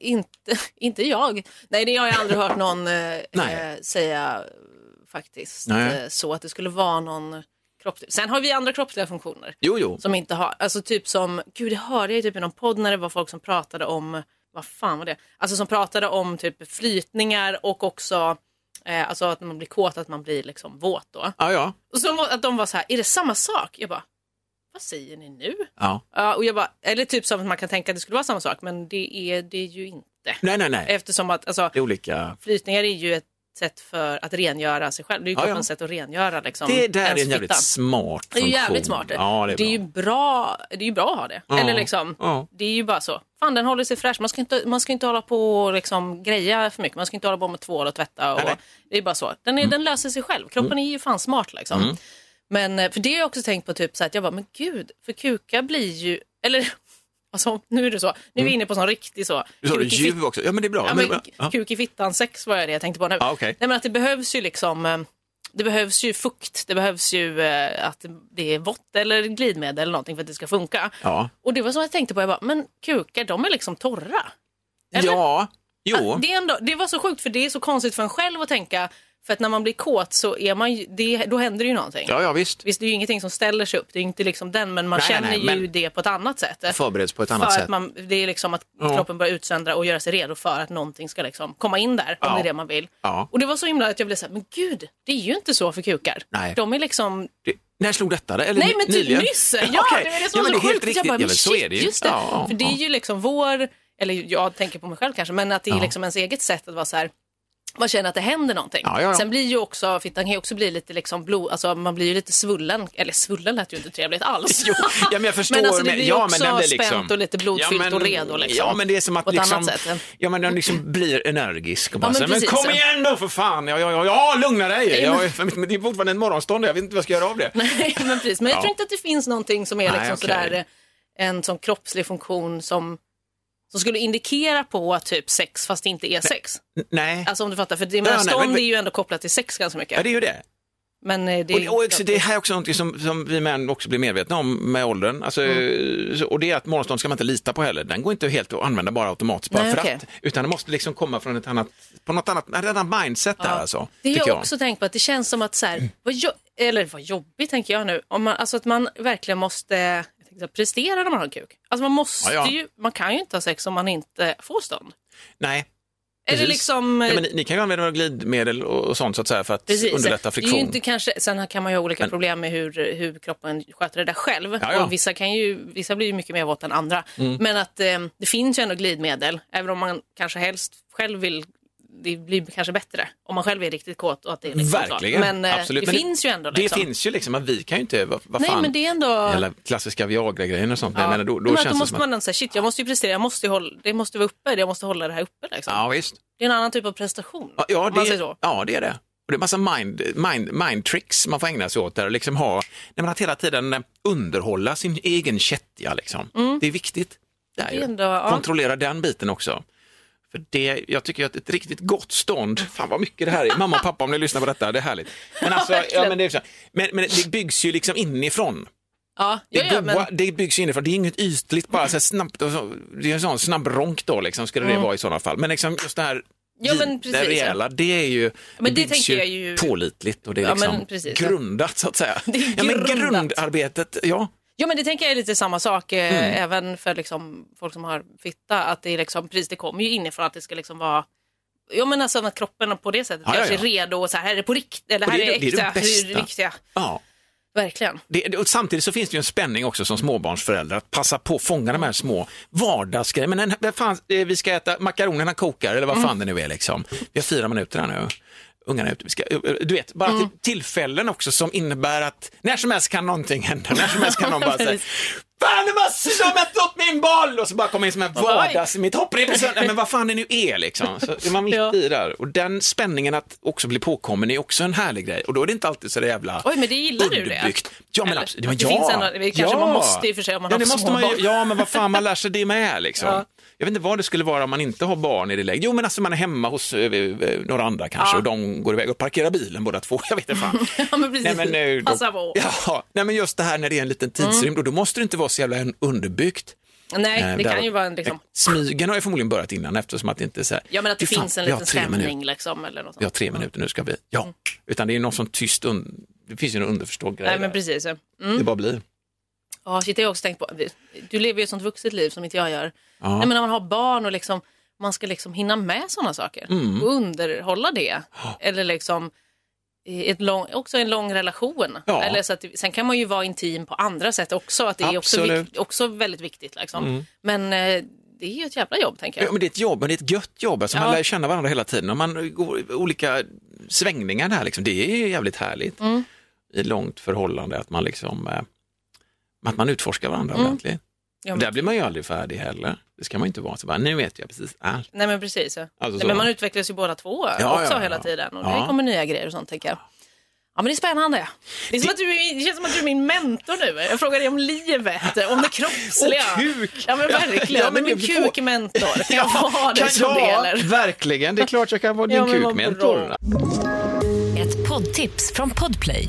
inte, inte jag. Nej det har jag aldrig hört någon eh, Nej. eh, säga eh, faktiskt Nej. eh, så att det skulle vara någon kropp. Sen har vi andra kroppsliga funktioner Jo, jo. som inte har, alltså typ som, gud det hörde jag ju typ i någon podd när det var folk som pratade om, vad fan var det? Alltså som pratade om typ flytningar och också eh, alltså att när man blir kåt att man blir liksom våt då. Ja, ja. Och så må- att de var så här, är det samma sak? Jag bara, vad säger ni nu? Ja. Ja, och jag bara, eller typ som att man kan tänka att det skulle vara samma sak, men det är det är ju inte. Nej, nej, nej. Eftersom att alltså, Det är olika. flytningar är ju ett sätt för att rengöra sig själv. Det är ju Ja, ja. kroppens sätt att rengöra liksom, Det där är ens en jävligt fitta. smart Det är funktion. ju jävligt smart. Ja, det är, bra. ju bra, det är ju bra att ha det. Ja. Eller liksom, Ja. Det är ju bara så. Fan, den håller sig fräsch. Man ska inte, man ska inte hålla på och liksom greja för mycket. Man ska inte hålla på med tvål och tvätta. Och, Nej, Mm. nej. Det är bara så. Den, är, den löser sig själv. Kroppen är ju fan smart liksom. Mm. Men eh, för det har jag också tänkt på, typ så här, att jag bara, men gud, för kukar blir ju, eller alltså, nu är det så. Nu Mm. är vi inne på sån riktig så. Du sa det, kuk i fit- djuv också. Ja, men det är bra. Ja, Men- men, ja. Kuk i fittan sex var det jag tänkte på nu. Ja, okej. Nej, men att det behövs ju liksom eh, det behövs ju fukt, det behövs ju eh, att det är vått eller glidmedel eller någonting för att det ska funka. Ja. Och det var som jag tänkte på, jag bara, men kukar de är liksom torra. Eller? Ah, ja, jo. Det, är ändå, det var så sjukt för det är så konstigt för en själv att tänka, för att när man blir kåt så är man ju, det, då händer det ju någonting. Ja, ja, visst. Visst, det är ju ingenting som ställer sig upp, det är inte liksom den, men man Nej, känner nej, ju men- det på ett annat sätt. Förbereds på ett för annat att sätt. Man, det är liksom att Ja. kroppen börjar utsöndra och göra sig redo för att någonting ska liksom komma in där, om Ja. det är det man vill. Ja. Och det var så himla att jag blev såhär, men gud, det är ju inte så för kukar. Nej. De är liksom Det, när slog detta? Eller Nej men typ nyligen? nyss! Ja, okej. det var det som Ja, men var så är helt sjukt. riktigt. Jag bara, Ja, men men shit, så är det ju. just det. Ja, ja, för det ja. är ju liksom vår, eller jag tänker på mig själv kanske, men att det är liksom ens eget sätt att vara så här, man känner att det händer någonting. Ja, ja, ja. Sen blir ju också, fittan kan ju också bli lite liksom blod, alltså man blir ju lite svullen, eller svullen lät ju inte trevligt alls. Jo, ja, men jag förstår. Men alltså det men- blir ju ja, också men den blir liksom, spänt och lite blodfyllt Ja, men- och redo liksom. Ja, men det är som att På ett liksom, annat sätt. ja, men den liksom blir energisk. Och bara, men så här, men, precis. kom igen då för fan! Ja, ja, ja, ja lugna dig! men- Jag, är- men det är fortfarande en morgonstånd, jag vet inte vad jag ska göra av det. Nej, men precis. Men jag Ja. tror inte att det finns någonting som är Nej, liksom okej. sådär, eh, en sån kroppslig funktion som, som skulle indikera på typ sex fast det inte är sex. N- Nej, Alltså om du fattar, för det, nej, men men- stånd är ju ändå kopplat till sex ganska mycket. ja, det är ju det. Men eh, det, Och, och också, det här är också något som, som vi män också blir medvetna om med åldern. Alltså, Mm. så, och det är att morgonstånd ska man inte lita på heller. Den går inte helt att använda bara automatiskt bara Nej, för okej. att. Utan det måste liksom komma från ett annat, på något annat, ett annat mindset där alltså. det tycker har jag jag. Mm. också tänkt på, att det känns som att så här, vad jo- eller vad jobbigt tänker jag nu, om man, alltså att man verkligen måste jag tänkte säga, prestera när man har kuk. Alltså man måste Ja, ja. ju, man kan ju inte ha sex om man inte får stånd. Nej. Eller precis. liksom... Ja, men ni, ni kan ju använda några glidmedel och, och sånt så att säga för att Precis. underlätta Det är friktion. ju inte kanske, sen kan man ju ha olika problem med hur, hur kroppen sköter det där själv. Ja, Mm. ja. Och vissa, kan ju, vissa blir ju mycket mer våt än andra. Men att eh, det finns ju ändå glidmedel, även om man kanske helst själv vill det blir kanske bättre om man själv är riktigt kåt och att det är liksom så. Verkligen, Men eh, absolut. det Men finns ju ändå. Det Liksom. finns ju liksom, att vi kan ju inte, vad, vad Nej, fan, men det är ändå... hela klassiska Viagra-grejen och sånt. Men Ja. jag menar, då, då men att känns då det måste som att, man ändå säga, shit jag måste ju prestera, jag måste ju hålla, det måste vara uppe, jag måste hålla det här uppe. Liksom. ja visst. Det är en annan typ av prestation. Ja, Ja, om man säger det, så. ja, det är det. Och det är massa mind, mind, mind tricks man får ägna sig åt där och liksom ha, nej, men att hela tiden eh, underhålla sin egen kättja liksom. Det är viktigt. Det är Mm. Det är ju. ändå- ja. Kontrollera den biten också. För det, jag tycker att ett riktigt gott stånd, fan vad mycket det här är, mamma och pappa om ni lyssnar på detta, det är härligt. Men, alltså, ja, men, det, är så. men, men det byggs ju liksom inifrån. Ja, Det, ja, ja, men... goa, det byggs ju inifrån, det är inget ytligt bara så här snabbt, och så, det är en sån snabb ronk då liksom, skulle Mm. det vara i sådana fall. Men liksom just det här Ja, men det precis, rejäla, det är ju, Men det byggs tänker jag ju- pålitligt och det är Ja, men liksom precis. grundat så att säga. Det är Ja, men grundat. grundarbetet, ja. Ja men det tänker jag är lite samma sak eh, Mm. även för liksom, folk som har fitta. Att det, är liksom, precis, det kommer ju inifrån att det ska liksom vara Ja men alltså att kroppen på det sättet Ja, ja, kanske ja. är redo och så här, här är det på riktigt, eller Och här det är, är det- det är det äkta, det är bästa. riktiga. ja. Verkligen. Det, det- och samtidigt så finns det ju en spänning också som småbarnsförälder att passa på att fånga de här små vardagsgrejerna. Men en, vad fan, eh, vi ska äta, makaronerna kokar eller vad fan det nu är liksom. Vi har fyra minuter här nu. Ungarna är ute. Vi ska, eh, eh, du vet, bara till, tillfällen också som innebär att när som helst kan någonting hända. När som helst kan någon bara säga Fan, det var som att upp min boll! Och så bara komma in som en vardags... Mitt hopprep är sönder. Nej, Men vad fan det nu är liksom. Så är man mitt Ja. i där. Och den spänningen att också bli påkommen är också en härlig grej. Och då är det inte alltid så där jävla Oj, men det gillar du det? underbyggt. Ja, men Eller? absolut. Men Det ja. finns ändå- det kanske man måste i och för sig om man ja, har det små måste man ju, barn. Ja, men vad fan, man lär sig det med liksom. Jag vet inte vad det skulle vara om man inte har barn i det läget. Jo, men alltså man är hemma hos eh, eh, några andra kanske och de går iväg och parkerar bilen båda två. Jag vet inte fan. Ja men precis. Nej, men nu, då, Passa på. Mm. ja, nej, men just det här när det är en liten tidsrymd och då måste det inte vara så jävla un- underbyggt. Nej Eh, det där- kan ju vara en liksom, eh, Smygen har ju förmodligen börjat innan eftersom att det inte är så här. ja men att det "Fy fan, finns en vi har liten tre minuter." stämning Mm. liksom eller något vi har sånt. tre minuter nu ska vi, ja. Utan det är någon sån tyst, un... det finns ju någon underförstådd grej Nej men där. precis. Mm. Ja Det bara blir. Ja, shit, det har jag också tänkt på. Du lever ju ett sånt vuxet liv som inte jag gör. Ja. Nej, men när man har barn och liksom, Mm. man ska liksom hinna med sådana saker och underhålla det. Eller liksom, i ett lång, också en lång relation. Ja. Eller så att, det- sen kan man ju vara intim på andra sätt också, att det är också, Absolut. Mm. vik, också väldigt viktigt. Liksom. Men eh, det är ju ett jävla jobb, tänker Ja, jag. men det är ett jobb, men det är ett gött jobb. Alltså, Man Ja. lär ju känna varandra hela tiden och man går i olika svängningar där. Liksom. Det är ju jävligt härligt Mm. i långt förhållande att man liksom eh, att man utforskar varandra ordentligt. Mm. Ja, Och men- Där blir man ju aldrig färdig heller. Det ska man ju inte vara. Så bara, nu vet jag precis allt. Nej men precis. Ja. Alltså så. Nej, men man utvecklas ju båda två ja, också ja. hela tiden och Ja. det kommer nya grejer och sånt tänker jag. Ja men det är spännande. Det, är som att du, är- det känns som att du är min mentor nu. Jag frågar dig om livet, om det kroppsliga. Och kuk! Ja men verkligen, Ja, men du är min det- får- kukmentor. Kan jag få ha det som det eller? verkligen. Det är klart jag kan vara din Ja, men vad kukmentor. bra. Ett poddtips från Podplay.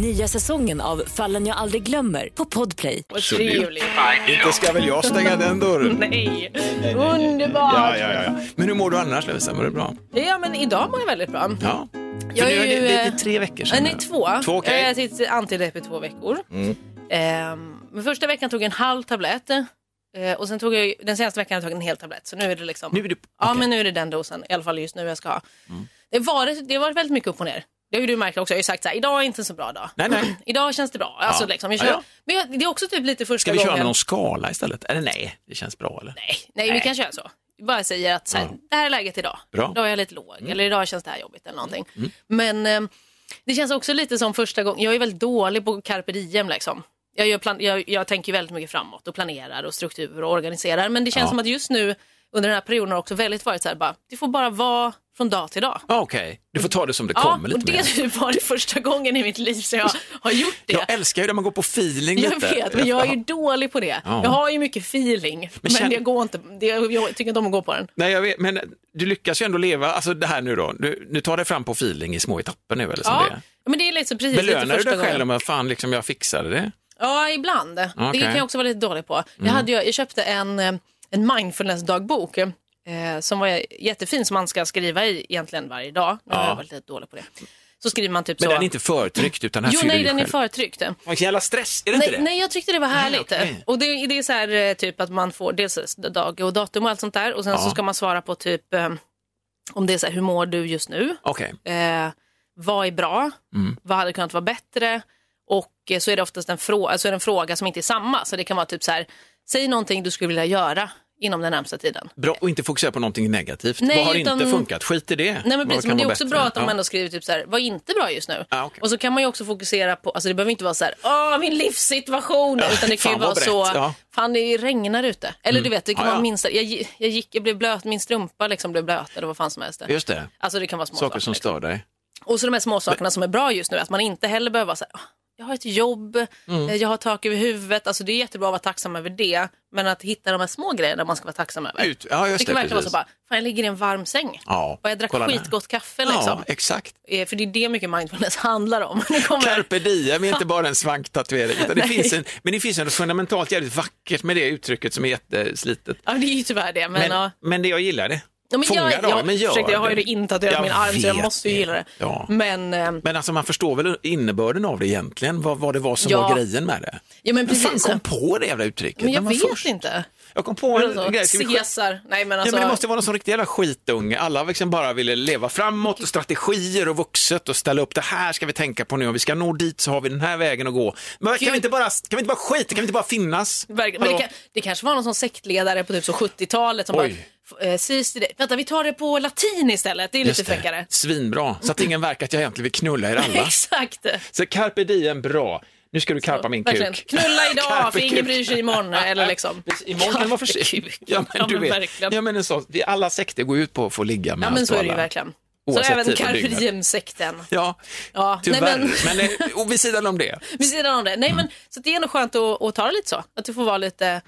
Nya säsongen av Fallen jag aldrig glömmer på Podplay. Vad trevligt. Inte ska väl jag stänga den dörren? Nej, underbart. Ja, ja, ja, ja. Men hur mår du annars Lovisa? Mår du bra? Ja, men idag mår jag väldigt bra. Ja. För Jag nu är är det, ju, det, det är eh, tre veckor Nej, sedan. nej, nu. två. Eh, Två, okej. Mm. Jag har ätit antidepp i två veckor. Ehm, men första veckan tog jag en halv tablett. Eh, och sen tog jag, den senaste veckan har jag tagit en hel tablett. Så nu är det liksom... Nu är du- Ja, okej. Mm. men nu är det den dosen. I alla fall just nu jag ska ha. Det, har varit, det har varit väldigt mycket upp och ner. Det har ju du märkt också. Jag har ju sagt så här, idag är inte en så bra dag. Nej, nej. idag känns det bra. Alltså, Ja. liksom, jag Ja, kör, ja. Men jag, det är också typ lite första Ska vi gången. köra med någon skala istället? Eller nej, det känns bra eller? Nej, nej, vi kan köra så. Vi bara säger att så här, Ja. det här är läget idag. Bra. Mm. Idag är jag lite låg eller idag känns det här jobbigt eller någonting. Men eh, det känns också lite som första gången. Jag är väldigt dålig på carpe diem liksom. Jag, gör plan- jag, jag tänker väldigt mycket framåt och planerar och struktur och organiserar. Men det känns Ja. som att just nu under den här perioden har också väldigt varit så här bara, det får bara vara från dag till dag. Ja, Ah, Okej, du får ta det som det Ja, kommer och lite det mer. typ var det första gången i mitt liv som jag har gjort det. Jag älskar ju när man går på feeling Jag lite. vet, men jag är ju dålig på det. Ja. Jag har ju mycket feeling, men, känn- jag, går inte, det- jag tycker inte om att gå på den. Nej, jag vet, men du lyckas ju ändå leva, alltså det här nu då, du, nu tar dig fram på feeling i små etapper nu eller som det är. men det är lite så precis Belönar lite du första dig själv gången. om att fan liksom jag fixade det? Ja, ibland. Det Okej. Mm. kan jag också vara lite dålig på. Jag, hade ju, jag köpte en, eh, en mindfulness-dagbok eh, som var jättefin som man ska skriva i egentligen varje dag. Nu har Ja. jag varit lite dålig på det. Så skriver man typ Men så. den är inte förtryckt utan här jo, fyller nej, du den är själv. förtryckt. Vilken jävla stress, är det Nej, inte det? nej, jag tyckte det var härligt. Nej, okej. Och det, det är så här, eh, typ att man får dels dag och datum och allt sånt där och sen Ja. så ska man svara på typ eh, om det är så här, hur mår du just nu? Okej, eh, vad är bra, Mm. vad hade kunnat vara bättre och eh, så är det oftast en fråga, alltså är det en fråga som inte är samma. Så det kan vara typ så här, säg någonting du skulle vilja göra inom den närmsta tiden. bra. Och inte fokusera på någonting negativt. Nej, Vad har utan- inte funkat? Skit i det. Nej men Vad precis, kan men det är vara också bättre? bra att de Ja. ändå skriver typ så här, vad är inte bra just nu? Ah, okej. Och så kan man ju också fokusera på, alltså det behöver inte vara så här, åh min livssituation, utan det kan ju fan, vara vad så, brett, ja. Mm. fan det regnar ute. Eller du vet, det kan Ja, vara ja. minsta, jag, gi- jag, gick, jag blev blöt, min strumpa liksom blev blöt eller vad fan som helst. Just det, Alltså det kan vara små saker som liksom. stör dig. Och så de här små sakerna som är bra just nu, att man inte heller behöver vara så här, "Ah, jag har ett jobb, Mm. eh, jag har tak över huvudet. Alltså det är jättebra att vara tacksam över det, men att hitta de här små grejerna man ska vara tacksam över. Ut. Ja, just det det, kan verkligen vara så precis. bara, fan jag ligger i en varm säng. Ja, Och jag drack kolla där. skitgott kaffe liksom. Ja, exakt. Eh, För det är det mycket mindfulness handlar om. Det kommer... Carpe diem är inte bara en svanktatuering, utan det Nej. finns en, men det finns något fundamentalt jävligt vackert med det uttrycket som är jätteslitet. Ja, det är ju tyvärr det. Men, Men, ja. men, det jag gillar det. Ja, men Fånga jag, dem, jag, men gör ursäkta, jag har ju det. det intatuerat i Jag min arm så jag vet måste ju det. gilla det. Ja. Men, eh, Men alltså man förstår väl innebörden av det egentligen, vad, vad det var som Ja. var grejen med det. ja, men Vem fan precis. kom på det jävla uttrycket? Men jag Vem var vet först? inte. Jag kom på en grej. Ska vi sk- Caesar. Nej men Ja, alltså. men det måste vara någon sån riktig jävla skitunge. Alla liksom bara ville leva framåt och strategier och vuxet och ställa upp det här ska vi tänka på nu. Om vi ska nå dit så har vi den här vägen att gå. Men kan Gud. vi inte bara, kan vi inte bara skita? Kan vi inte bara finnas? Verkligen. Men det, Hallå? kan, det kanske var någon sån sektledare på typ så 70-talet som Oj. bara, eh, "Sis, det- vänta vi tar det på latin istället, det är lite Just det. fräckare. Svinbra, så att ingen verkar att jag egentligen vill knulla er alla. Exakt. Så carpe diem, bra. Nu ska du karpa min Verkligen. kuk. Knulla idag, Karpa för ingen kuk. bryr sig imorgon, eller liksom. Precis, Imorgon kan det vara för Karpa sent. kuk. Ja, men du vet. verkligen. Ja, men en sån, vi- alla sekter går ut på att få ligga med Ja men så är det ju alla. verkligen. Oavsett så även tid och carpe dygnet. diem-sekten. Ja, Ja, nej, tyvärr. men- men... eh, och vid sidan om det. Vid sidan om det. Nej, Mm. men, så det är nog skönt att, att ta det lite så. Att det får vara lite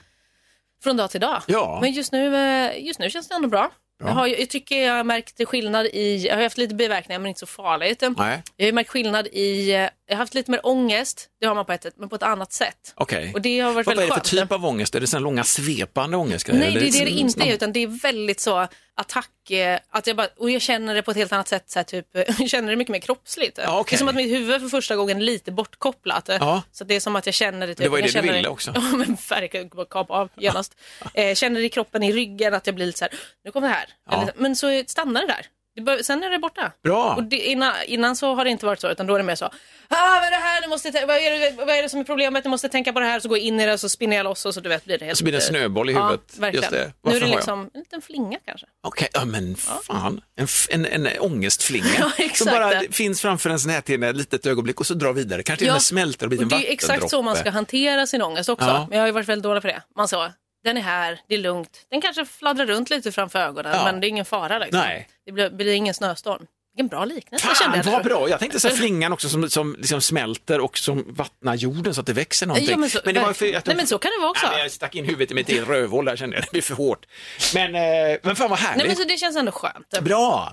från dag till dag. Ja. Men just nu, eh, just nu känns det ändå bra. Jag, har, jag tycker jag har märkt skillnad i, jag har haft lite biverkningar men inte så farligt. Nej. Jag har ju märkt skillnad i, eh, jag har haft lite mer ångest, det har man på ett sätt, men på ett annat sätt. Okej. Och det har varit Vad är väldigt det för skönt. typ av ångest? Är det sån långa svepande ångestgrejer? Nej, det är det det Eller- liksom inte är, utan det är väldigt så attack, eh, att jag bara, och jag känner det på ett helt annat sätt, så här, typ, jag känner det mycket mer kroppsligt. Ja, okej. Det är som att mitt huvud för första gången är lite bortkopplat. Ja. Så det är som att jag känner det. Typ, Det var ju jag det du känner ville också. Ja, men verkligen, bara kapa av genast. Eh, känner det i kroppen, i ryggen, att jag blir lite så här, nu kommer det här. Ja. Eller- Men så stannar det där. Det bör, sen är det borta. Bra. Och det, innan, innan så har det inte varit så, utan då är det mer så, ah, vad är det här, nu måste jag, tän- vad, är det, vad är det som är problemet, nu måste jag tänka på det här, så går jag in i det, så spinner jag loss och så du vet, blir det helt... eh, Så blir det en snöboll i huvudet. Ja, verkligen. Just det. Nu Varför är det har jag- liksom en liten flinga kanske. Okej, ja men fan. En, f- en, en ångestflinga Ja, exakt som bara det. finns framför ens näthinna ett litet ögonblick och så drar vidare. Kanske till och Ja, med smälter och blir Och en det är ju exakt så man ska vattendroppe. hantera sin ångest också. Ja. Men jag har ju varit väldigt dålig på det. Man sa, den är här, det är lugnt. Den kanske fladdrar runt lite framför ögonen, Ja. men det är ingen fara. Liksom. Nej. Det blir, blir ingen snöstorm. Vilken bra liknelse kände Fan jag vad nu. bra, jag tänkte så här flingan också som, som liksom smälter och som vattnar jorden så att det växer någonting. Ja, men så- det var ju för att- Nej, men så kan det vara också. Nej, men jag stack in huvudet i mitt eget rövhål där kände jag, det blir för hårt. Men, eh, men fan vad härligt. Nej, men så det känns ändå skönt. Bra!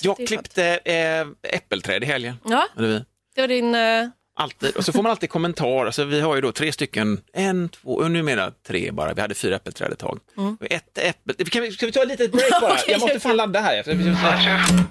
jag det är klippte eh, äppelträd i helgen. Ja, Hade vi. det var din... eh, Alltid. Och så får man alltid kommentar. Alltså, vi har ju då tre stycken, en, två, och numera tre bara. Vi hade fyra äppelträd ett tag. Och Ett äppel... Kan vi, ska vi ta ett litet break bara? Okej, jag måste jag- fan ladda här. Jag- Jag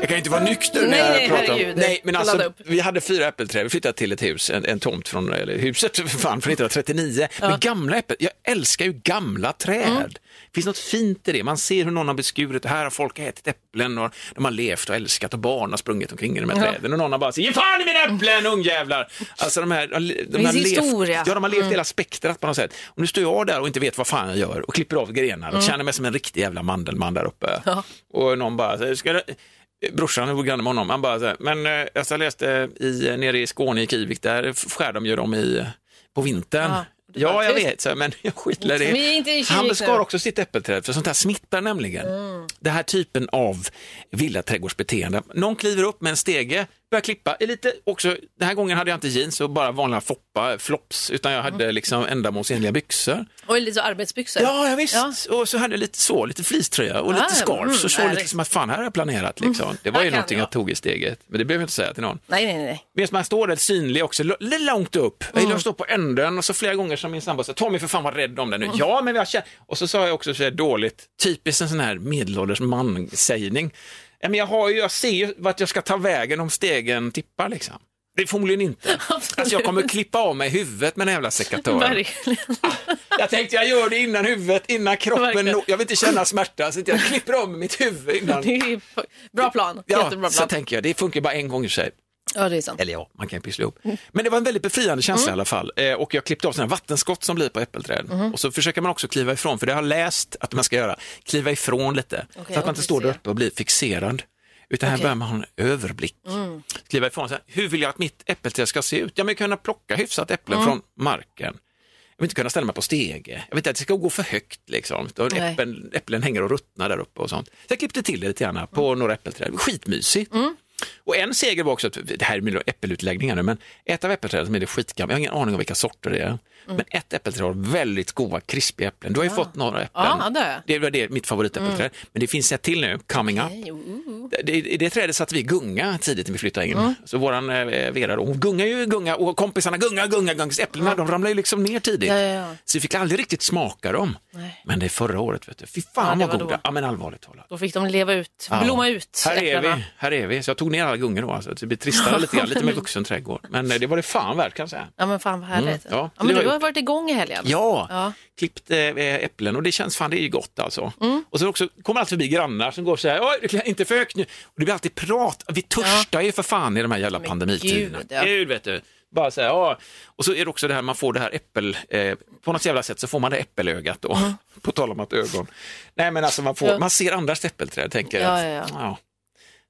jag kan ju inte vara nykter när Nej, nej, jag pratar om... herregud. Nej, men Får ladda alltså, upp. vi hade fyra äppelträd. Vi flyttade till ett hus, en, en tomt från, eller huset för fan, från 1939. Men gamla äppel, jag älskar ju gamla träd. Det finns något fint i det. Man ser hur någon har beskurit, här har folk ätit äpplen och de har levt och älskat och barn har sprungit omkring i de här träden och någon har bara sagt, ge fan i mina äpplen ungjävlar! Alltså de här, de, de finns har historia. levt, ja, de har levt hela spektrat på något sätt. Och nu står jag där och inte vet vad fan jag gör och klipper av grenar Mm. och känner mig som en riktig jävla mandelman där uppe. Och någon bara, så här, ska du... Brorsan, jag bor granne med honom, han bara så här, men eh, alltså, jag läste i, nere i Skåne i Kivik, där skär de ju dem i, eh, på vintern. Ja, det var Ja, jag tyst. vet, så här, men jag skiter i det. Men inte i Kivik Han nu. skar också sitt äppelträd, för sånt här smittar nämligen. Det här typen av villaträdgårdsbeteende. Någon kliver upp med en stege, börjar klippa. Är lite också, den här gången hade jag inte jeans och bara vanliga foppa, flops, utan jag hade Mm. liksom ändamålsenliga byxor. Och lite så arbetsbyxor. Ja, ja visst. Och så hade jag lite så, lite fleecetröja och lite Ah, scarf. Så mm, såg lite härligt. Mm. som att fan, här har jag planerat liksom. Det var här ju kan någonting jag. jag tog i steget, men det behöver jag inte säga till någon. Nej, nej, nej. Medan man står där synlig också, l- lite långt upp. Jag Mm. gillar att stå på änden och så flera gånger som min sambo sa, Tommy för fan var rädd om den Mm. nu. Ja, men jag känner... Och så sa jag också så här dåligt, typiskt en sån här medelålders man-sägning. Ja, men jag, har ju, jag ser ju vart jag ska ta vägen om stegen tippar liksom. Det är förmodligen inte. Absolut. Alltså jag kommer klippa av mig huvudet med den här jävla sekatören. Verkligen. Jag tänkte jag gör det innan huvudet, innan kroppen. Verkligen. når- Jag vill inte känna smärta så att jag klipper av mig mitt huvud Det innan. är ju bra plan. Ja, Jättebra så plan. tänker jag. Det funkar bara en gång i sig. Ja, det är sant. Eller ja, man kan ju pyssla ihop. Men det var en väldigt befriande Mm. känsla i alla fall. Eh, och jag klippte av sådana vattenskott som blir på äppelträd. Och så försöker man också kliva ifrån, för det har jag läst att man ska göra. Kliva ifrån lite, så att man ja, inte står där precis. uppe och blir fixerad. Utan här Okej. Mm. börjar man ha en överblick. Kliva ifrån, så här, hur vill jag att mitt äppelträd ska se ut? Jag vill kunna plocka hyfsat äpplen Mm. från marken. Jag vill inte kunna ställa mig på stege. Jag vill inte att det ska gå för högt. Liksom. Då Nej. äpplen, äpplen hänger och ruttnar där uppe och sånt. Så jag klippte till det lite grann på Mm. några äppelträd. Skitmysigt. Och en seger var också, att, det här är mina äppelutläggningar nu, men ett av äppelträden som är det skitgamla, jag har ingen aning om vilka sorter det är, Mm. men ett äppelträd har väldigt goda krispiga äpplen. Du har ju fått några äpplen. Ja, det har jag. Mm. det var det, mitt favoritäppelträd. Men det finns ett till nu, coming up. Det, I det trädet satte vi gunga tidigt när vi flyttade in. Mm. Så våran eh, Vera, då, hon gungar ju gunga och kompisarna gunga, gunga, gunga. Så Äpplena de ramlar ju liksom ner tidigt. Ja, ja, ja. Så vi fick aldrig riktigt smaka dem. Nej. Men det är förra året, vet du. fy fan Ja, det vad var goda. då. Ja, men allvarligt talat. Då fick de leva ut, Ja. blomma ut. Här är, äpplena. vi, här är vi, så jag tog ner alla gungor då. Alltså. Det blir tristare lite grann, lite mer vuxen trädgård. Men eh, det var det fan värt kan jag säga. Ja men fan vad härligt. Mm, ja. ja. Det men har du jag har varit igång i helgen. Ja, Ja. klippt eh, äpplen och det känns fan, det är ju gott alltså. Mm. Och så också, kommer alltid förbi grannar som går så här, Oj, det är inte för högt nu. Och det blir alltid prat, vi törstar ju för fan i de här jävla Men pandemitiderna. gud, ja. Gud, vet du. Bara så här, ja. Och så är det också det här, man får det här äppel, eh, på något jävla sätt så får man det äppelögat då. På tal om att ögon. Nej men alltså man, får, Mm. Ja. man ser andras äppelträd, tänker jag. Ja, att, ja, ja.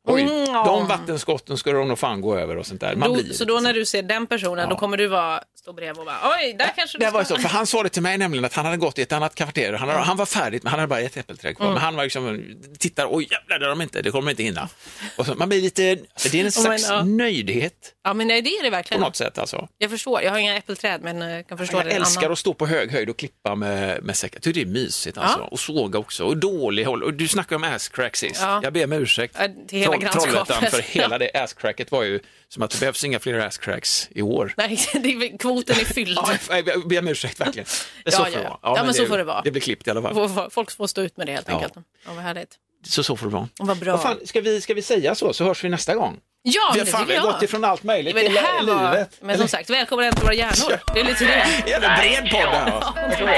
Oj, Mm, ja. de vattenskotten skulle de nog fan gå över och sånt där. Man Då, blir så då när du ser den personen, Ja. då kommer du vara, stå bredvid och bara, oj, där kanske du Det var ju ska- så, för han sa det till mig nämligen att han hade gått i ett annat kvarter. Han, hade, han var färdig, men han hade bara ett äppelträd kvar. Mm. Men han var liksom, tittar, oj jävlar, det har de inte, det kommer de inte hinna. Och så, man blir lite, det är en men, slags ja. nöjdhet Ja, men nej, det är det på verkligen. något sätt alltså. Jag förstår, jag har inga äppelträd, men eh, jag kan förstå Jag det. älskar att stå på hög höjd och klippa med, med säckar. Jag tycker det är mysigt alltså. Ja. Och såga också. Och dålig håll. Och du snackade om asscrack sist. Ja. Jag ber om ursäkt. Ja, till hela grannskapet. Trollhättan, för hela det asscracket var ju som att det behövs inga fler asscracks i år. Nej, det är, kvoten är fylld. Ja, jag jag ber om ursäkt verkligen. Det är Ja, så får ja. det vara. Ja, men så det, får det vara. Det blir klippt i alla fall. Får- Folk får stå ut med det helt Ja. enkelt. Ja, vad härligt. Så, så får det vara. Vad bra. Vad fan, ska, vi, ska vi säga så, så hörs vi nästa gång? Ja, vi, men det fan, tycker vi har jag. gått ifrån allt möjligt Men det till här livet. var, men Eller- som sagt, välkommen till våra hjärnor. Det är lite det. Jävla bred podd det här. va?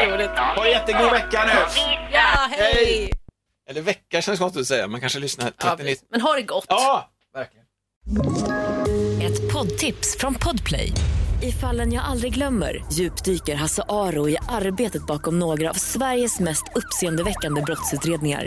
Otroligt. Ha en jättegod vecka nu. Ja, hej! Hej. Eller vecka känns konstigt att säga, man kanske lyssnar Ja, 39... men ha det gott. Ja, verkligen. Ett poddtips från Podplay. I fallen jag aldrig glömmer djupdyker Hasse Aro i arbetet bakom några av Sveriges mest uppseendeväckande brottsutredningar.